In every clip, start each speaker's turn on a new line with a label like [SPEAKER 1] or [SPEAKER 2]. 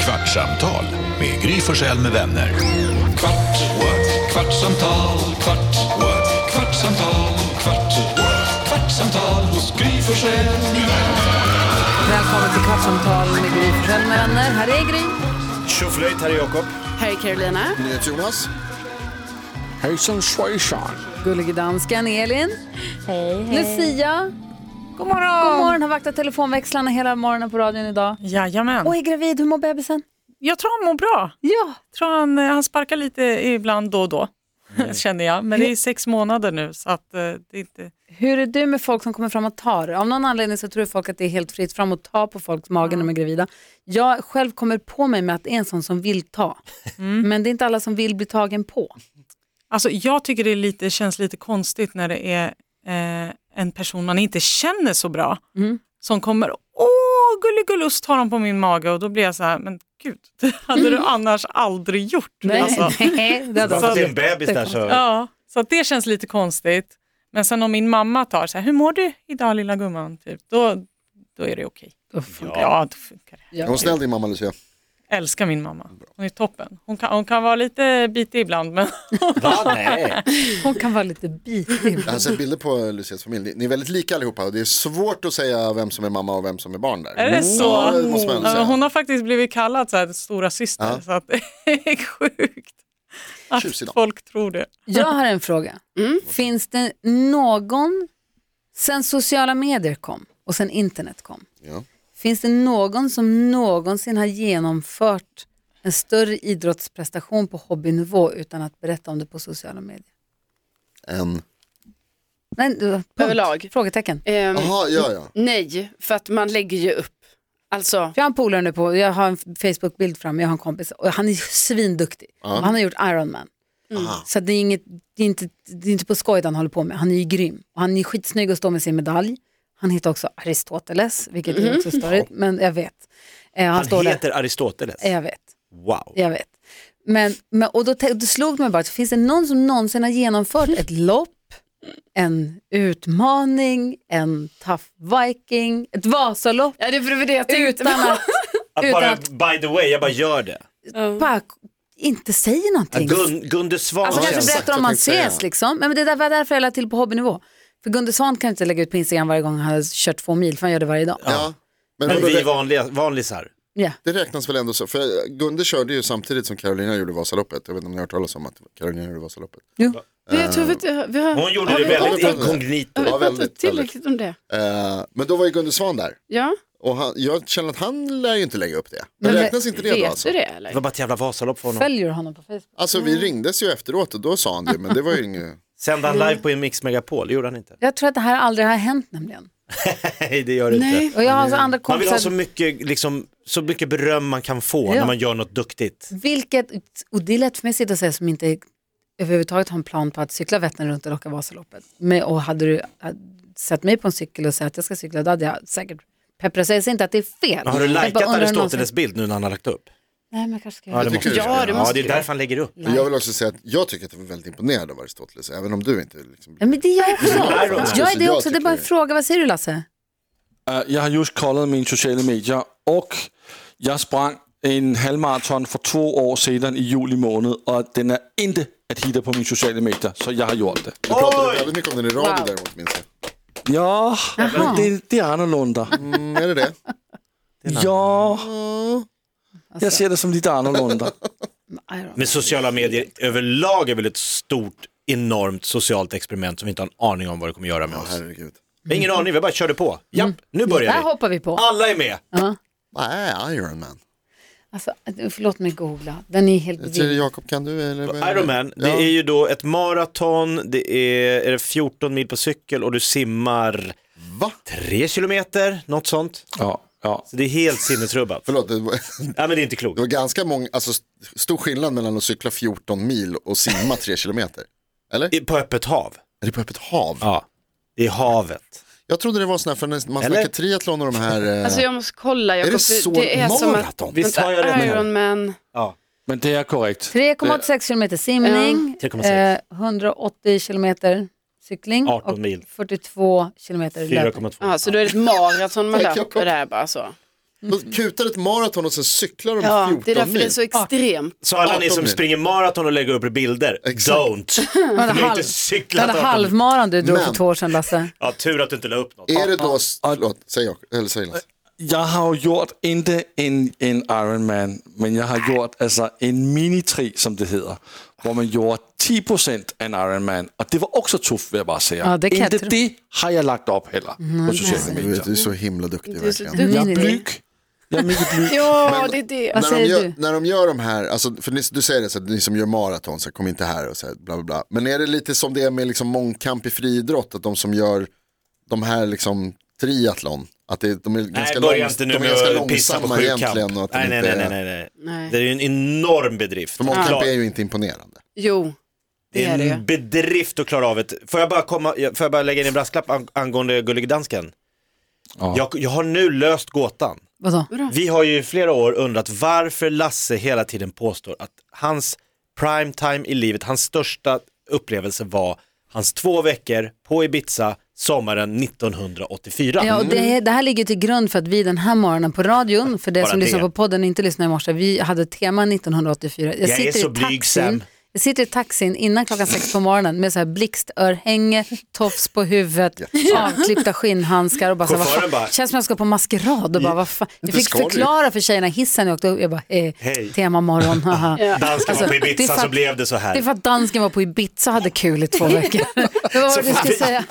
[SPEAKER 1] Kvartsamtal med Gry Forssell med vänner. Kvart, what? kvartsamtal, kvart, what? kvartsamtal, kvart, what? kvartsamtal hos Gry Forssell med vänner.
[SPEAKER 2] Välkommen till Kvartsamtal med Gry Forssell med vänner. Här är Gry.
[SPEAKER 3] Tjoflöjt, här är Jakob.
[SPEAKER 2] Här är Carolina.
[SPEAKER 4] Jonas. Hejsan svejsan.
[SPEAKER 2] Gullige dansken Elin. Hej, hej. Lucia. God morgon. God morgon. Har vaktat telefonväxlarna hela morgonen på radion idag.
[SPEAKER 5] Jajamän.
[SPEAKER 2] Och är gravid. Hur mår bebisen?
[SPEAKER 5] Jag tror han mår bra.
[SPEAKER 2] Ja.
[SPEAKER 5] Jag tror han, eh, han sparkar lite ibland då och då, känner jag. Men det är sex månader nu så att eh, det är inte...
[SPEAKER 2] Hur är du med folk som kommer fram och tar? Av någon anledning så tror folk att det är helt fritt fram att ta på folks mage när de är gravida. Jag själv kommer på mig med att det är en sån som vill ta. Men det är inte alla som vill bli tagen på.
[SPEAKER 5] Alltså jag tycker det är lite, känns lite konstigt när det är eh, en person man inte känner så bra som kommer åh gulligulus tar de på min mage och då blir jag så här, men gud, det hade du annars aldrig gjort. Alltså.
[SPEAKER 2] nej. Alltså. Det
[SPEAKER 3] Bara för att det är
[SPEAKER 2] är
[SPEAKER 3] en bebis där så...
[SPEAKER 5] Ja, så att det känns lite konstigt. Men sen om min mamma tar så här, hur mår du idag lilla gumman? Typ, då, då är det okej. Ja, då funkar det.
[SPEAKER 4] Är hon snäll din mamma Lucia?
[SPEAKER 5] Älskar min mamma. Hon är toppen. Hon kan, hon kan vara lite bitig ibland men
[SPEAKER 3] Va? Nej.
[SPEAKER 2] Hon kan vara lite bitig.
[SPEAKER 4] Jag har sett bilder på eh, Lucias familj. Ni- Ni är väldigt lika allihopa och det är svårt att säga vem som är mamma och vem som är barn där.
[SPEAKER 5] är det
[SPEAKER 4] Ja,
[SPEAKER 5] så?
[SPEAKER 4] det måste man ändå
[SPEAKER 5] Ja,
[SPEAKER 4] säga.
[SPEAKER 5] hon har faktiskt blivit kallad så här, stora syster
[SPEAKER 4] Ja.
[SPEAKER 5] så att det är sjukt. Att
[SPEAKER 4] Tjusig dam.
[SPEAKER 5] folk tror det.
[SPEAKER 2] Jag har en fråga. Finns det någon, sen sociala medier kom och sen internet kom,
[SPEAKER 4] Ja.
[SPEAKER 2] finns det någon som någonsin har genomfört en större idrottsprestation på hobbynivå utan att berätta om det på sociala medier?
[SPEAKER 4] En.
[SPEAKER 2] Nej, du- punkt.
[SPEAKER 6] Överlag.
[SPEAKER 2] Frågetecken.
[SPEAKER 6] Ehm,
[SPEAKER 4] Jaha, ja ja.
[SPEAKER 6] nej, för att man lägger ju upp. Alltså,
[SPEAKER 2] Jag har en polare nu på, jag har en Facebook-bild fram, jag har en kompis och han är svinduktig. Och han har gjort Ironman. Så det är, inget, det, är inte, det är inte på skoj det han håller på med, han är ju grym. Och han är skitsnygg och står med sin medalj. Han heter också Aristoteles, vilket är också störigt, men jag vet. Eh, han, står
[SPEAKER 3] Han
[SPEAKER 2] där.
[SPEAKER 3] heter Aristoteles.
[SPEAKER 2] Eh, Jag vet,
[SPEAKER 3] Wow.
[SPEAKER 2] jag vet. Men, men, och då, te- då slog det mig bara, att finns det någon som någonsin har genomfört ett lopp, en utmaning, en tough viking, ett Vasalopp?
[SPEAKER 6] ja, det var det jag tänkte.
[SPEAKER 2] Utan att
[SPEAKER 3] Att bara, by the way, jag bara gör det.
[SPEAKER 2] bara inte säger någonting.
[SPEAKER 3] Gun, Gunde Svan.
[SPEAKER 2] alltså
[SPEAKER 4] Ja,
[SPEAKER 2] kanske
[SPEAKER 4] exakt,
[SPEAKER 2] berättar
[SPEAKER 4] jag
[SPEAKER 2] om man
[SPEAKER 4] tänkte säga.
[SPEAKER 2] ses liksom. Men det där var därför jag lade till på hobbynivå. För Gunde Svan kan inte lägga ut på Instagram varje gång han har kört två mil, för han gör det varje dag. Ja.
[SPEAKER 4] ja. Men,
[SPEAKER 3] Men
[SPEAKER 4] vadå,
[SPEAKER 3] vi
[SPEAKER 4] det,
[SPEAKER 3] vanliga, vanlisar.
[SPEAKER 4] det räknas väl ändå så? För Gunde körde ju samtidigt som Carolina gjorde Vasaloppet. Jag vet inte om ni har hört talas om att Carolina gjorde Vasaloppet.
[SPEAKER 6] Men jag tror vi, inte- vi har,
[SPEAKER 3] Hon gjorde
[SPEAKER 6] har
[SPEAKER 3] det
[SPEAKER 6] vi
[SPEAKER 3] väldigt
[SPEAKER 4] pratat om Ehm, det?
[SPEAKER 3] inkognito.
[SPEAKER 4] Ja,
[SPEAKER 6] Har vi pratat
[SPEAKER 4] väldigt, väldigt.
[SPEAKER 6] tillräckligt om det?
[SPEAKER 4] Eh, men då var ju Gunde Svan där.
[SPEAKER 6] Ja,
[SPEAKER 4] Och han, jag känner att han lär ju inte lägga upp det. Men,
[SPEAKER 2] Men
[SPEAKER 4] räknas inte det
[SPEAKER 6] vet
[SPEAKER 4] då alltså?
[SPEAKER 6] du det
[SPEAKER 3] Det
[SPEAKER 6] eller?
[SPEAKER 3] var bara ett jävla Vasalopp för honom.
[SPEAKER 2] Följer du honom på Facebook?
[SPEAKER 4] Alltså vi ringdes ju efteråt och då sa han det, men det var ju inget.
[SPEAKER 3] Sände
[SPEAKER 2] Mm.
[SPEAKER 3] han live på en Mix Megapol? Det gjorde han inte.
[SPEAKER 2] Jag tror att det här aldrig har hänt nämligen.
[SPEAKER 3] Nej, det gör det inte.
[SPEAKER 6] Nej.
[SPEAKER 2] Och jag har alltså andra
[SPEAKER 3] Man vill ha så
[SPEAKER 2] kompisar,
[SPEAKER 3] mycket, liksom, så mycket beröm man kan få
[SPEAKER 2] Ja.
[SPEAKER 3] när man gör något duktigt.
[SPEAKER 2] vilket, och det är lätt för mig att sitta och säga som inte överhuvudtaget har en plan på att cykla Vättern runt eller åka Vasaloppet. Men, och hade du eh, sett mig på en cykel och sagt att jag ska cykla, då hade jag säkert pepprat. Jag säger inte att det är fel.
[SPEAKER 3] Men Har du
[SPEAKER 2] Jag bara
[SPEAKER 3] likat
[SPEAKER 2] undrar om någon ska-
[SPEAKER 3] Aristoteles bild nu när han har lagt upp?
[SPEAKER 2] Nej, men jag kanske ska göra
[SPEAKER 3] Ja, det måste
[SPEAKER 4] tycker
[SPEAKER 3] du
[SPEAKER 4] du ska
[SPEAKER 3] göra.
[SPEAKER 4] göra.
[SPEAKER 3] ja, det är därför han lägger upp.
[SPEAKER 4] Men jag vill också säga att jag tycker att det var väldigt imponerande av Aristoteles, även om du inte liksom...
[SPEAKER 2] Ja, men det är jag också. Jag är det
[SPEAKER 4] Jag
[SPEAKER 2] också. Det är bara en
[SPEAKER 4] tycker-
[SPEAKER 2] fråga. Vad säger du Lasse?
[SPEAKER 7] Eh, Jag har just kollat mina sociala medier och jag sprang en halvmaraton för två år sedan i juli månad och den är inte att hitta på mina sociala medier, så jag har gjort det.
[SPEAKER 4] Du pratade väldigt mycket om den i radio däremot minns jag.
[SPEAKER 7] Ja, men det, det är annorlunda.
[SPEAKER 4] Mm, är det det?
[SPEAKER 7] Ja, jag ser det som lite annorlunda.
[SPEAKER 3] Men sociala medier överlag är väl ett stort, enormt socialt experiment som vi inte har en aning om vad det kommer göra med oss.
[SPEAKER 4] Herregud.
[SPEAKER 3] Vi har Ingen
[SPEAKER 4] Mm.
[SPEAKER 3] aning, vi bara körde på. Japp, nu
[SPEAKER 2] Där
[SPEAKER 3] börjar vi.
[SPEAKER 2] hoppar vi på.
[SPEAKER 3] Alla är med.
[SPEAKER 4] Vad är Iron Man?
[SPEAKER 2] Alltså, förlåt mig googla. Den är helt
[SPEAKER 4] Jag tror
[SPEAKER 2] vild.
[SPEAKER 4] Jakob, kan du? Eller, vad är det?
[SPEAKER 3] Iron Man, det
[SPEAKER 4] Ja.
[SPEAKER 3] är ju då ett maraton, det är, är det 14 mil på cykel och du simmar
[SPEAKER 4] Va?
[SPEAKER 3] 3 kilometer, något sånt.
[SPEAKER 7] Ja, ja.
[SPEAKER 3] Så det är helt sinnesrubbat.
[SPEAKER 4] Förlåt, det var,
[SPEAKER 3] Ja men det är inte
[SPEAKER 4] det
[SPEAKER 3] klokt.
[SPEAKER 4] var ganska många, alltså st- stor skillnad mellan att cykla 14 mil och simma 3 kilometer. Eller?
[SPEAKER 3] I- På öppet hav.
[SPEAKER 4] Är det på öppet hav?
[SPEAKER 3] Ja. I havet.
[SPEAKER 4] Jag trodde det var sån här, för när man
[SPEAKER 3] Eller?
[SPEAKER 4] snackar triathlon och de här... eh,
[SPEAKER 6] Alltså jag måste kolla, jag
[SPEAKER 4] är det
[SPEAKER 6] kommer-
[SPEAKER 4] så
[SPEAKER 6] det är som att,
[SPEAKER 4] maraton?
[SPEAKER 3] Visst har jag
[SPEAKER 6] Vänta,
[SPEAKER 3] det?
[SPEAKER 6] Iron Man,
[SPEAKER 3] Ja.
[SPEAKER 7] Men det är korrekt.
[SPEAKER 2] 3,86 kilometer simning,
[SPEAKER 3] 3,6.
[SPEAKER 2] eh, 180 kilometer cykling
[SPEAKER 3] 18
[SPEAKER 2] och
[SPEAKER 3] mil.
[SPEAKER 2] 42 kilometer löpning.
[SPEAKER 3] 4,2.
[SPEAKER 6] ja, så då är det ett maraton man
[SPEAKER 4] Tack, Jakob.
[SPEAKER 6] löper där bara så.
[SPEAKER 4] De kutar ett maraton och sen cyklar de
[SPEAKER 6] Ja,
[SPEAKER 4] 14
[SPEAKER 6] det är därför
[SPEAKER 4] mil.
[SPEAKER 6] det är så extremt.
[SPEAKER 3] Så alla ni
[SPEAKER 4] 18
[SPEAKER 3] som
[SPEAKER 4] mil.
[SPEAKER 3] springer maraton och lägger upp bilder,
[SPEAKER 4] Exakt.
[SPEAKER 3] don't.
[SPEAKER 2] hade
[SPEAKER 3] Du har
[SPEAKER 2] halv-
[SPEAKER 3] inte
[SPEAKER 2] Du
[SPEAKER 3] cyklat
[SPEAKER 2] hade
[SPEAKER 3] 18
[SPEAKER 2] halvmaran du drog för
[SPEAKER 4] Men-
[SPEAKER 2] två år sedan Lasse.
[SPEAKER 3] Ja, tur att du inte la upp något.
[SPEAKER 4] Är det då, förlåt, säg jag, eller säg Lasse.
[SPEAKER 7] Jeg har jo gjort ikke en, en Ironman, men jeg har gjort altså en mini-tri, som det hedder, hvor man gjorde 10% af en Ironman, og det var også tufft, vil jeg bare sige.
[SPEAKER 2] Ja, det kan jeg
[SPEAKER 7] Inte
[SPEAKER 2] tro.
[SPEAKER 7] det har jeg lagt op heller på sociale
[SPEAKER 4] Du,
[SPEAKER 7] medier.
[SPEAKER 4] vet, du är så himla duktig
[SPEAKER 6] Du är så
[SPEAKER 4] verkligen.
[SPEAKER 6] duktig.
[SPEAKER 7] Jeg er
[SPEAKER 2] Mini-tri.
[SPEAKER 7] blyg. Jeg er mega blyg.
[SPEAKER 6] Ja, det är det.
[SPEAKER 2] Vad
[SPEAKER 4] när, de
[SPEAKER 2] säger
[SPEAKER 4] gör,
[SPEAKER 2] du?
[SPEAKER 4] när de gör de här, alltså, för ni, du säger det, så här, ni som gör maraton, så här, kom inte här och så här, bla bla bla. Men är det lite som det är med liksom, mångkamp i friidrott, att de som gör de här liksom, triathlon, att det, de är
[SPEAKER 3] Nej,
[SPEAKER 4] ganska,
[SPEAKER 3] börja
[SPEAKER 4] långs-
[SPEAKER 3] inte
[SPEAKER 4] de
[SPEAKER 3] nu
[SPEAKER 4] är ganska
[SPEAKER 3] med att pissa på
[SPEAKER 4] långsamma
[SPEAKER 3] sjukkamp.
[SPEAKER 4] egentligen. Och att de
[SPEAKER 3] Nej, nej,
[SPEAKER 4] inte,
[SPEAKER 3] nej, nej, nej, nej.
[SPEAKER 6] Nej.
[SPEAKER 3] Det är ju en enorm bedrift.
[SPEAKER 4] För mångkamp
[SPEAKER 3] Klar-
[SPEAKER 4] är ju inte imponerande.
[SPEAKER 6] Jo,
[SPEAKER 3] Det
[SPEAKER 6] det
[SPEAKER 3] är
[SPEAKER 6] är det
[SPEAKER 4] Mm.
[SPEAKER 6] ju.
[SPEAKER 3] en bedrift att klara av ett... Får jag bara, komma, får jag bara lägga in en brasklapp ang- angående Gullig Dansken?
[SPEAKER 7] Ja.
[SPEAKER 3] Jag, jag har nu löst gåtan.
[SPEAKER 2] Vadå?
[SPEAKER 3] Vi har ju i flera år undrat varför Lasse hela tiden påstår att hans prime time i livet, hans största upplevelse var hans två veckor på Ibiza sommaren 1984.
[SPEAKER 2] Ja, och det, det här ligger till grund för att vi den här morgonen på radion, för det
[SPEAKER 3] Mm. Bara
[SPEAKER 2] som
[SPEAKER 3] det.
[SPEAKER 2] lyssnar på podden och inte lyssnar i morse, vi hade tema 1984.
[SPEAKER 3] Jag är
[SPEAKER 2] sitter i
[SPEAKER 3] så blyg, Sam.
[SPEAKER 2] Jag sitter i taxin innan klockan sex på morgonen med så här blixtörhänge, tofs på huvudet, avklippta skinnhandskar och bara, så, här, vad
[SPEAKER 3] Chauffören
[SPEAKER 2] fan,
[SPEAKER 3] bara-
[SPEAKER 2] känns som jag ska på maskerad och bara, vad fan. Jag fick
[SPEAKER 4] ska du.
[SPEAKER 2] förklara för tjejerna i hissen när jag åkte upp, jag bara, eh,
[SPEAKER 3] Hej.
[SPEAKER 2] tema morgon, haha.
[SPEAKER 3] Dansken
[SPEAKER 2] Alltså,
[SPEAKER 3] var på
[SPEAKER 2] det är
[SPEAKER 3] Ibiza
[SPEAKER 2] för
[SPEAKER 3] så
[SPEAKER 2] att-
[SPEAKER 3] blev det så
[SPEAKER 2] Det är
[SPEAKER 3] här.
[SPEAKER 2] för att dansken var på Ibiza och hade kul i två veckor. Det var vad jag skulle säga.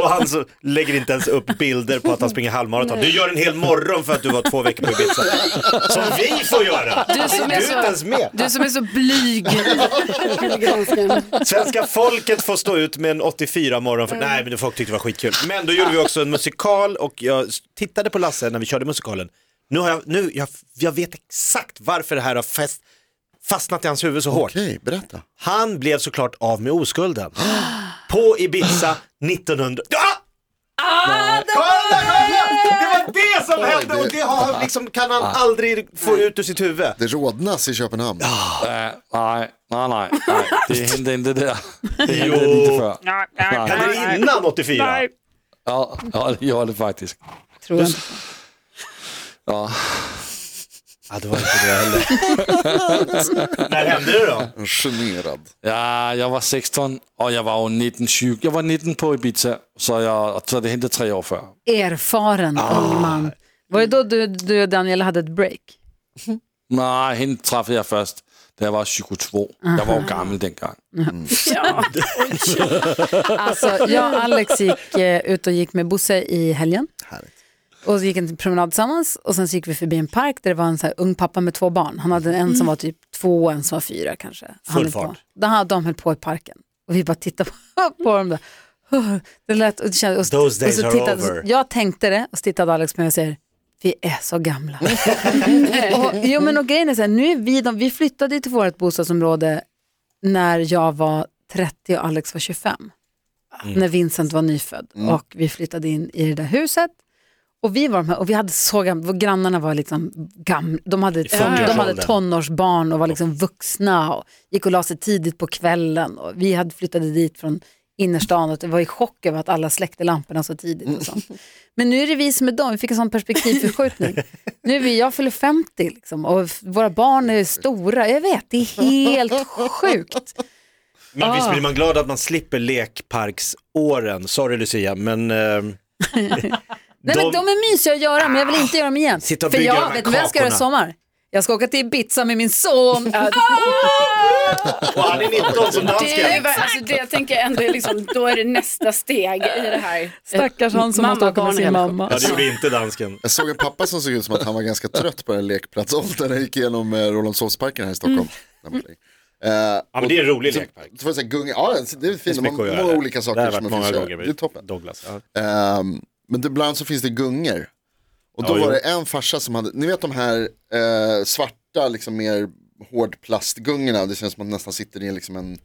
[SPEAKER 3] Och han så lägger inte ens upp bilder på att han springer halvmaraton. Du gör en hel morgon för att du var två veckor på Ibiza. Som vi får göra.
[SPEAKER 6] Du som är
[SPEAKER 3] du
[SPEAKER 6] så-
[SPEAKER 3] inte ens med.
[SPEAKER 2] Du som är så blyg.
[SPEAKER 3] Svenska folket får stå ut med en 84 morgon. För, nej, men det folk tyckte det var skitkul. Men då gjorde vi också en musikal och jag s- tittade på Lasse när vi körde musikalen. Nu har jag, nu, jag, jag vet exakt varför det här har fäst, fastnat i hans huvud så hårt.
[SPEAKER 4] Okej, berätta.
[SPEAKER 3] Han blev såklart av med oskulden. På Ibiza 1900... Ah! Ah, det, var... det var det som hände och det har, liksom, kan han aldrig få ut ur sitt huvud.
[SPEAKER 4] Det rådnas i Köpenhamn.
[SPEAKER 7] Ja, nej, nej, nej, nej. Det hände inte där. Det hände inte før.
[SPEAKER 3] Hände det innan 84?
[SPEAKER 7] Ja, ja, det gjorde det faktisk.
[SPEAKER 2] Tror jag.
[SPEAKER 7] Ja.
[SPEAKER 3] Ja, det var inte det heller. När hände det då?
[SPEAKER 4] Generad.
[SPEAKER 7] Ja, jeg var 16, og jeg var jo 19 syg. Jeg var 19 på Ibiza, så, jeg, så det hentede tre år før.
[SPEAKER 2] erfaren ung man. Var det då du, du och Daniel hade ett break?
[SPEAKER 7] Nej, hende træffede jeg først, da jeg var 22. Jeg var jo gammel dengang.
[SPEAKER 2] Alltså, jag och Alex gick eh, ut och gick med Bosse i helgen.
[SPEAKER 4] Härligt.
[SPEAKER 2] Och så gick en promenad tillsammans och sen så gick vi förbi en park där det var en så här ung pappa med två barn. Han hade en som var typ två och en som var fyra kanske. Han höll
[SPEAKER 3] Mm. Full
[SPEAKER 2] på.
[SPEAKER 3] fart.
[SPEAKER 2] Det här, de höll på i parken. Och vi bara tittade på, på dem där. Det lät och det kändes. Och,
[SPEAKER 3] Those days
[SPEAKER 2] och så
[SPEAKER 3] are
[SPEAKER 2] tittade,
[SPEAKER 3] over.
[SPEAKER 2] Jag tänkte det och så tittade Alex på mig och säger vi är så gamla. och, jo men och grejen är så här, nu är vi, de, vi flyttade ju till vårt bostadsområde när jag var 30 och Alex var 25. När Vincent var nyfödd och vi flyttade in i det där huset. Och vi var de här, och vi hade så gamla, grannarna var liksom gamla, de hade, de hade
[SPEAKER 3] fyrtioårsåldern.
[SPEAKER 2] tonårsbarn och var liksom vuxna och gick och la sig tidigt på kvällen. Och vi hade flyttade dit från innerstan och det var i chock över att alla släckte lamporna så tidigt. Och sånt. Men nu är det vi som är dem, vi fick en sån perspektivförskjutning. nu är vi, jag fyller 50 liksom, och f- våra barn är stora, jag vet, det är helt sjukt.
[SPEAKER 3] Men visst blir man glad att man slipper lekparksåren. Sorry Lucia, men... Eh,
[SPEAKER 2] Nej, men de är mysiga att göra, men jag vill inte göra dem igen.
[SPEAKER 3] Sitta och
[SPEAKER 2] För
[SPEAKER 3] bygga de
[SPEAKER 2] jag,
[SPEAKER 3] här
[SPEAKER 2] vet du vad jag ska göra i
[SPEAKER 3] kakorna.
[SPEAKER 2] sommar? Jag ska åka till Ibiza med min son.
[SPEAKER 3] Och han är 19 som
[SPEAKER 6] Det, är ju,
[SPEAKER 3] dansken.
[SPEAKER 6] ver- alltså, det jag tänker ändå är liksom, då är det nästa steg i det här.
[SPEAKER 2] Stackars han som måste åka med sin mamma.
[SPEAKER 3] Ja, det gjorde inte dansken.
[SPEAKER 4] Jag såg en pappa som såg ut som att han var ganska trött på den lekplatsåldern. Han gick igenom eh, Rålambshovsparken här i Stockholm. Eh,
[SPEAKER 3] Mm. Ja, men det är en rolig
[SPEAKER 4] Så-
[SPEAKER 3] lekpark.
[SPEAKER 4] så får jag säga, gunga, ja, det är fint.
[SPEAKER 3] finns
[SPEAKER 4] Man
[SPEAKER 3] mycket att göra
[SPEAKER 4] många
[SPEAKER 3] där.
[SPEAKER 4] olika
[SPEAKER 3] Det
[SPEAKER 4] saker
[SPEAKER 3] har
[SPEAKER 4] som
[SPEAKER 3] varit
[SPEAKER 4] man
[SPEAKER 3] många
[SPEAKER 4] finns
[SPEAKER 3] gånger
[SPEAKER 4] göra. Det är
[SPEAKER 3] med
[SPEAKER 4] toppen.
[SPEAKER 3] Douglas. Ja.
[SPEAKER 4] Ehm, men det- ibland så finns det gungor. Och då
[SPEAKER 3] Ja,
[SPEAKER 4] var
[SPEAKER 3] jo.
[SPEAKER 4] det en farsa som hade, ni vet de här eh, svarta, liksom mer hårdplastgungorna. Det känns som att man nästan sitter i liksom en,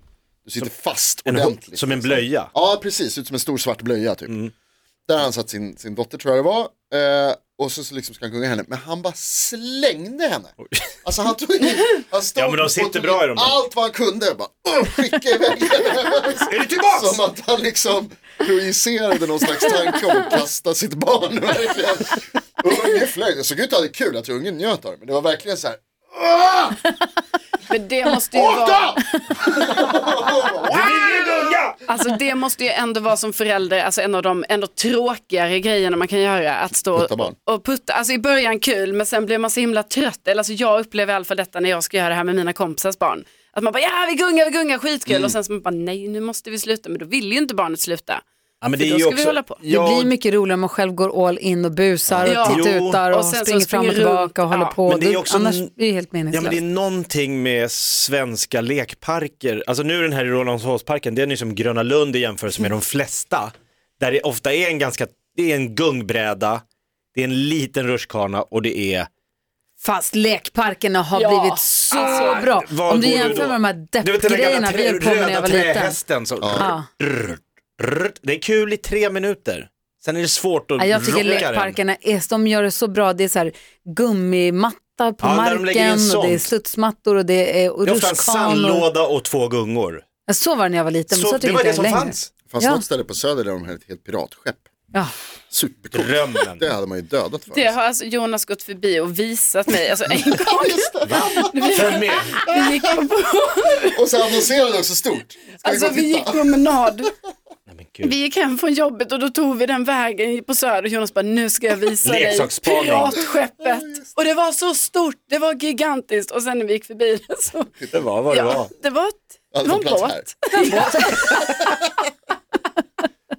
[SPEAKER 4] du sitter fast
[SPEAKER 3] En,
[SPEAKER 4] ordentligt.
[SPEAKER 3] som en
[SPEAKER 4] liksom.
[SPEAKER 3] blöja.
[SPEAKER 4] Ja, precis. Ut som en stor svart blöja typ.
[SPEAKER 3] Mm.
[SPEAKER 4] Där har han satt sin, sin dotter tror jag det var. Eh, och så, så liksom ska han gunga henne, men han bara slängde henne. Alltså han tog in, han stod
[SPEAKER 3] Ja, men de
[SPEAKER 4] och
[SPEAKER 3] sitter
[SPEAKER 4] tog in
[SPEAKER 3] bra i de där.
[SPEAKER 4] allt vad han kunde. Jag bara, "Åh, skicka iväg henne.
[SPEAKER 3] Är du tillbaks?
[SPEAKER 4] Som att han liksom projicerade någon slags tanke om att kasta sitt barn. verkligen. Ungen flög, det såg ut att ha det kul, jag tror ungen njöt av det. Men det var verkligen så här.
[SPEAKER 6] Men det måste ju vara, alltså det måste ju ändå vara som förälder, alltså en av de ändå tråkigare grejerna man kan göra. Att stå
[SPEAKER 4] Putta barn.
[SPEAKER 6] och putta, alltså i början kul men sen blir man så himla trött. Eller alltså jag upplever i alla fall detta när jag ska göra det här med mina kompisars barn. Att man bara ja vi gungar, vi gungar, skitkul
[SPEAKER 4] Mm.
[SPEAKER 6] och sen så man bara nej nu måste vi sluta men då vill ju inte barnet sluta.
[SPEAKER 3] Ja, men det
[SPEAKER 6] För
[SPEAKER 3] är
[SPEAKER 6] då
[SPEAKER 3] ju
[SPEAKER 6] ska vi
[SPEAKER 3] också-
[SPEAKER 6] hålla på.
[SPEAKER 3] Ja,
[SPEAKER 2] Det blir mycket roligare om man själv går all in och busar och
[SPEAKER 6] Ja.
[SPEAKER 2] tittutar
[SPEAKER 6] Jo.
[SPEAKER 2] och,
[SPEAKER 6] Och sen så
[SPEAKER 2] springer fram och
[SPEAKER 6] springer runt.
[SPEAKER 2] tillbaka och håller
[SPEAKER 6] Ja.
[SPEAKER 2] på.
[SPEAKER 3] Men det är
[SPEAKER 2] Då-
[SPEAKER 3] också
[SPEAKER 2] Annars
[SPEAKER 3] en-
[SPEAKER 2] blir det helt
[SPEAKER 3] Ja
[SPEAKER 2] meningslöst.
[SPEAKER 3] men det är någonting med svenska lekparker, alltså nu den här i Rålambshovsparken, den är ju som Gröna Lund i jämförelse med de flesta, där det ofta är en ganska, det är en gungbräda, det är en liten rutschkana och det är
[SPEAKER 2] Fast lekparkerna har
[SPEAKER 6] Ja.
[SPEAKER 2] blivit så bra.
[SPEAKER 3] Alltså, var
[SPEAKER 2] Om du
[SPEAKER 3] går du
[SPEAKER 2] jämför
[SPEAKER 3] då?
[SPEAKER 2] med de här
[SPEAKER 3] Du vet den där
[SPEAKER 2] deppgrejerna
[SPEAKER 3] gamla
[SPEAKER 2] vi
[SPEAKER 3] trä,
[SPEAKER 2] höll på med när jag
[SPEAKER 3] röda
[SPEAKER 2] var liten.
[SPEAKER 3] trähästen. Så,
[SPEAKER 2] Ja.
[SPEAKER 3] rrr, rrr. Det är kul i tre minuter, sen är det svårt att
[SPEAKER 2] Ja, jag tycker
[SPEAKER 3] rocka den.
[SPEAKER 2] lekparkerna är, de gör det så bra. Det är så här gummimatta på
[SPEAKER 3] Ja, där de lägger in
[SPEAKER 2] marken och det är
[SPEAKER 3] sånt.
[SPEAKER 2] studsmattor och det är och
[SPEAKER 3] Det är ofta en
[SPEAKER 2] rutschkanor.
[SPEAKER 3] sandlåda och två gungor.
[SPEAKER 2] Ja, Så var det när jag var liten, men så,
[SPEAKER 3] Så,
[SPEAKER 2] tycker
[SPEAKER 3] det var
[SPEAKER 2] inte
[SPEAKER 3] det
[SPEAKER 2] jag
[SPEAKER 3] som
[SPEAKER 2] längre.
[SPEAKER 3] fanns.
[SPEAKER 4] Det fanns
[SPEAKER 2] Ja.
[SPEAKER 4] något ställe på söder där de hade ett helt piratskepp.
[SPEAKER 2] Ja.
[SPEAKER 4] Supercoolt.
[SPEAKER 3] Drömmen.
[SPEAKER 4] Det hade man ju dödat för.
[SPEAKER 6] Det har alltså Jonas gått förbi och visat mig alltså en gång.
[SPEAKER 3] Följ med.
[SPEAKER 6] Vi gick på,
[SPEAKER 4] Och så annonserade det också stort. Ska
[SPEAKER 6] alltså,
[SPEAKER 4] gå och
[SPEAKER 6] vi
[SPEAKER 4] titta?
[SPEAKER 6] gick promenad
[SPEAKER 3] Nej, men gud.
[SPEAKER 6] Vi gick hem från jobbet och då tog vi den vägen på Söder och Jonas bara nu ska jag visa dig
[SPEAKER 3] Leksaksspaning.
[SPEAKER 6] piratskeppet.
[SPEAKER 4] Mm.
[SPEAKER 6] Och det var så stort, det var gigantiskt och sen när vi gick förbi det så,
[SPEAKER 3] Det var vad det var.
[SPEAKER 6] ja, det var, ett,
[SPEAKER 4] Ja,
[SPEAKER 6] det
[SPEAKER 4] det
[SPEAKER 6] var
[SPEAKER 4] var
[SPEAKER 6] en
[SPEAKER 4] plats
[SPEAKER 6] båt.
[SPEAKER 4] här.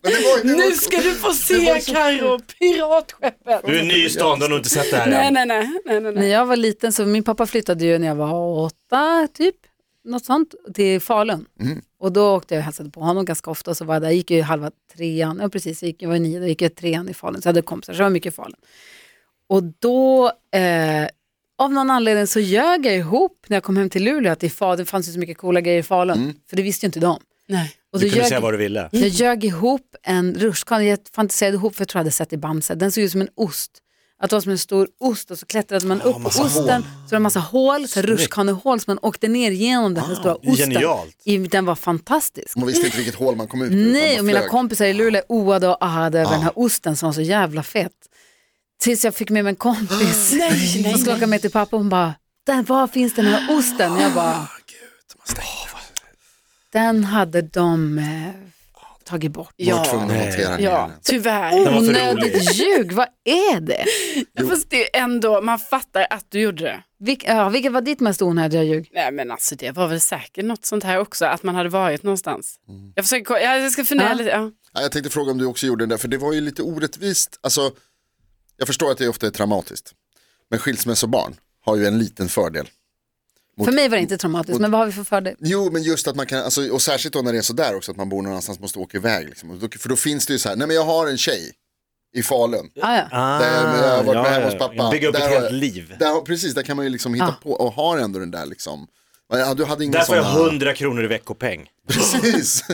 [SPEAKER 4] Men det var ju- det var-
[SPEAKER 6] Nu ska du få
[SPEAKER 4] Det var
[SPEAKER 6] se
[SPEAKER 4] så sjukt.
[SPEAKER 6] Carro, piratskeppet.
[SPEAKER 3] Du är ny i stan, du har nog inte sett det här
[SPEAKER 6] Nej,
[SPEAKER 3] än.
[SPEAKER 6] nej, nej, nej, nej,
[SPEAKER 2] När
[SPEAKER 6] nej.
[SPEAKER 2] jag var liten, så min pappa flyttade ju när jag var åtta, typ, något sånt, till Falun.
[SPEAKER 3] Mm.
[SPEAKER 2] Och då åkte jag och hälsade på honom ganska ofta, och så var jag där, jag gick ju halva trean, ja precis, jag, gick, jag var nio, då gick jag trean i Falun, så jag hade kompisar, så jag var mycket i Falun. Och då, eh, av någon anledning så ljög jag ihop när jag kom hem till Luleå att det, i Falun, det fanns ju så mycket coola grejer i Falun, för det visste ju inte de.
[SPEAKER 6] nej.
[SPEAKER 2] Och
[SPEAKER 3] Mm. Du
[SPEAKER 2] då
[SPEAKER 3] kunde
[SPEAKER 2] ljög-
[SPEAKER 3] säga vad du ville.
[SPEAKER 2] jag ljög ihop en rutschkana, jag fantiserade ihop för jag tror jag hade sett i Bamse. Den såg ut som en ost. Att det var som en stor ost och så klättrade man upp på osten. Så var det en massa hål, så här rutschkanehål som man åkte ner genom den här
[SPEAKER 6] Ah,
[SPEAKER 2] stora osten.
[SPEAKER 3] genialt.
[SPEAKER 2] I, den var fantastisk.
[SPEAKER 6] Mm.
[SPEAKER 4] Man visste inte vilket hål man kom ut ur, utan
[SPEAKER 2] Nej,
[SPEAKER 4] man
[SPEAKER 2] och mina
[SPEAKER 4] flög.
[SPEAKER 2] kompisar i Luleå oade och ahade över den här
[SPEAKER 6] Ah.
[SPEAKER 2] osten som var så jävla fet. Tills jag fick med mig en kompis
[SPEAKER 6] nej,
[SPEAKER 2] och skulle åka med till pappa och hon bara, där, var finns den här osten? Jag
[SPEAKER 6] Ah,
[SPEAKER 2] bara, den hade de eh, tagit bort.
[SPEAKER 4] Man var tvungen
[SPEAKER 6] Ja,
[SPEAKER 4] att hantera den
[SPEAKER 6] ja,
[SPEAKER 4] grejen.
[SPEAKER 6] tyvärr.
[SPEAKER 3] var för
[SPEAKER 2] Onödigt ljug, vad är det?
[SPEAKER 6] Fast det är ändå, man fattar att du gjorde det.
[SPEAKER 2] Vilk, ja, vilket var ditt mest onödiga ljug?
[SPEAKER 6] Nej men alltså det var väl säkert något sånt här också, att man hade varit någonstans. Jag, försöker, ko- ja, jag ska fundera
[SPEAKER 2] Ja.
[SPEAKER 6] lite. Ja.
[SPEAKER 4] Ja, Jag tänkte fråga om du också gjorde den där, för det var ju lite orättvist. Alltså, jag förstår att det ofta är traumatiskt. Men skilsmässobarn har ju en liten fördel. Mot-
[SPEAKER 2] För mig var det inte traumatiskt, men vad har vi för fördel?
[SPEAKER 4] Jo, men just att man kan, alltså, och särskilt då när det är sådär också, att man bor någon annanstans måste åka iväg. Liksom. Och då, för då finns det ju så här, nej men jag har en tjej i Falun.
[SPEAKER 2] Ah, ja.
[SPEAKER 4] Där, men jag har varit med hemma hos pappa.
[SPEAKER 3] Bygga upp
[SPEAKER 4] Där
[SPEAKER 3] ett
[SPEAKER 4] har-
[SPEAKER 3] helt liv.
[SPEAKER 4] Där, har- precis, där kan man ju liksom
[SPEAKER 2] Ah.
[SPEAKER 4] hitta på och har ändå den där liksom. Ja, du hade ingen
[SPEAKER 3] Där får jag
[SPEAKER 4] sån.
[SPEAKER 3] 100 kronor i veckopeng.
[SPEAKER 4] Precis.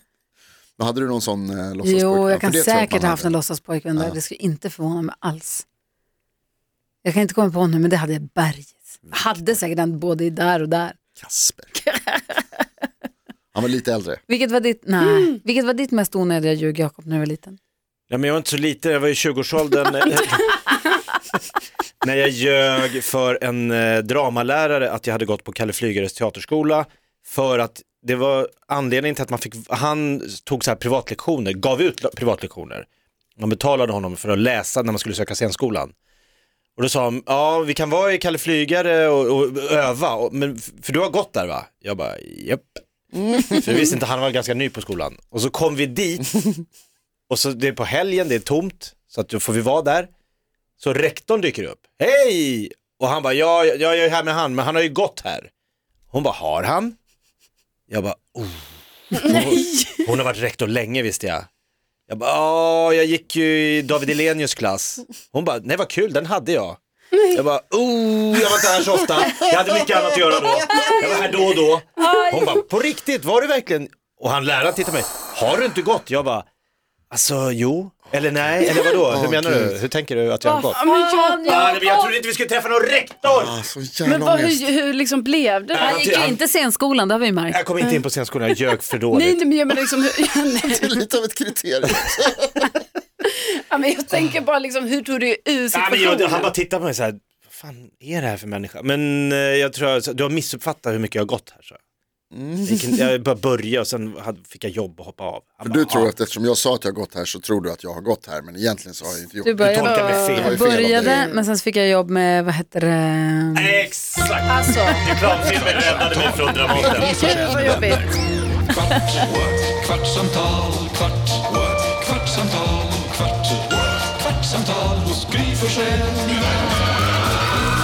[SPEAKER 4] Men hade du någon sån eh, låtsaspojkvän?
[SPEAKER 2] Jo,
[SPEAKER 4] För
[SPEAKER 2] jag kan
[SPEAKER 4] det tror jag att
[SPEAKER 2] säkert
[SPEAKER 4] man
[SPEAKER 2] ha haft
[SPEAKER 4] hade.
[SPEAKER 2] en låtsaspojkvän där, det skulle inte förvåna mig alls. Jag kan inte komma på nu, men det hade jag bergis. Jag Hade säkert den både där och där.
[SPEAKER 4] Kasper. Han var lite äldre.
[SPEAKER 2] Vilket var ditt, nej.
[SPEAKER 4] Mm.
[SPEAKER 2] Vilket var ditt mest onödiga ljug, Jakob, när du var liten?
[SPEAKER 3] Ja, men jag var inte så liten, jag var i 20-årsåldern. eh, när jag ljög för en eh, dramalärare att jag hade gått på Kalle Flygares teaterskola. För att det var anledningen till att man fick, han tog så här privatlektioner, gav ut la- privatlektioner. Man betalade honom för att läsa när man skulle söka scenskolan. Och då sa han, ja vi kan vara i Kalle Flygare och, och öva, och, men, f- för du har gått där va? Jag bara, japp. För jag visste inte, han var ganska ny på skolan. Och så kom vi dit och så det är på helgen, det är tomt, så att då får vi vara där. Så rektorn dyker upp, hej! Och han bara, ja, ja, jag är här med han, men han har ju gått här. Hon bara, har han? Jag bara, oh. Hon, hon har varit rektor länge visste jag. Jag bara, ja, jag gick ju i David Elenius klass. Hon bara, nej vad kul, den hade jag. Jag bara, oh, jag var inte här så ofta. Jag hade mycket annat att göra då. Jag var här då och då. Hon bara, på riktigt, var du verkligen? Och han läraren tittade på mig, har du inte gått? Jag bara, alltså jo, eller nej, eller vadå? Hur menar du? Hur tänker du att jag har gått?
[SPEAKER 6] Ja, men jag,
[SPEAKER 3] Ah, nej, men jag trodde inte vi skulle träffa någon rektor!
[SPEAKER 4] Ah, så
[SPEAKER 6] Men
[SPEAKER 4] jävla
[SPEAKER 6] vad,
[SPEAKER 4] ångest.
[SPEAKER 6] hur, hur liksom blev det?
[SPEAKER 2] Han gick ju inte scenskolan, det har vi ju märkt.
[SPEAKER 3] Jag kom inte in på scenskolan, jag ljög för dåligt.
[SPEAKER 6] Nej, nej, men jag menar liksom, hur- ja, nej.
[SPEAKER 4] Det är lite av ett kriterium.
[SPEAKER 6] Ja, men jag tänker bara liksom, hur tog du ur
[SPEAKER 3] Ja, men
[SPEAKER 6] situationen?
[SPEAKER 3] jag, han bara tittar på mig så här, vad fan är det här för människa? Men eh, jag tror jag, du har missuppfattat hur mycket jag har gått här. Så. Mm. Jag bara började och sen hade- fick jag jobb och hoppa av. Han
[SPEAKER 4] För
[SPEAKER 3] bara, "Ah,
[SPEAKER 4] du tror
[SPEAKER 3] "Ja,
[SPEAKER 4] att eftersom jag sa att jag har gått här så tror du att jag har gått här men egentligen så har jag inte gjort
[SPEAKER 2] Du
[SPEAKER 4] det.
[SPEAKER 3] du
[SPEAKER 2] började,
[SPEAKER 3] tolkar mig
[SPEAKER 4] var
[SPEAKER 2] jag
[SPEAKER 3] fel.
[SPEAKER 4] ju fel av dig.
[SPEAKER 2] började men sen så fick jag jobb med, vad heter det?
[SPEAKER 3] Exakt,
[SPEAKER 6] Alltså,
[SPEAKER 3] reklamfilmen räddade mig från Dramaten.
[SPEAKER 6] gud vad jobbigt.
[SPEAKER 1] Kvart, what? kvartsamtal, kvart, what? kvartsamtal, kvart, what? kvartsamtal hos Gry Forssell med vänner.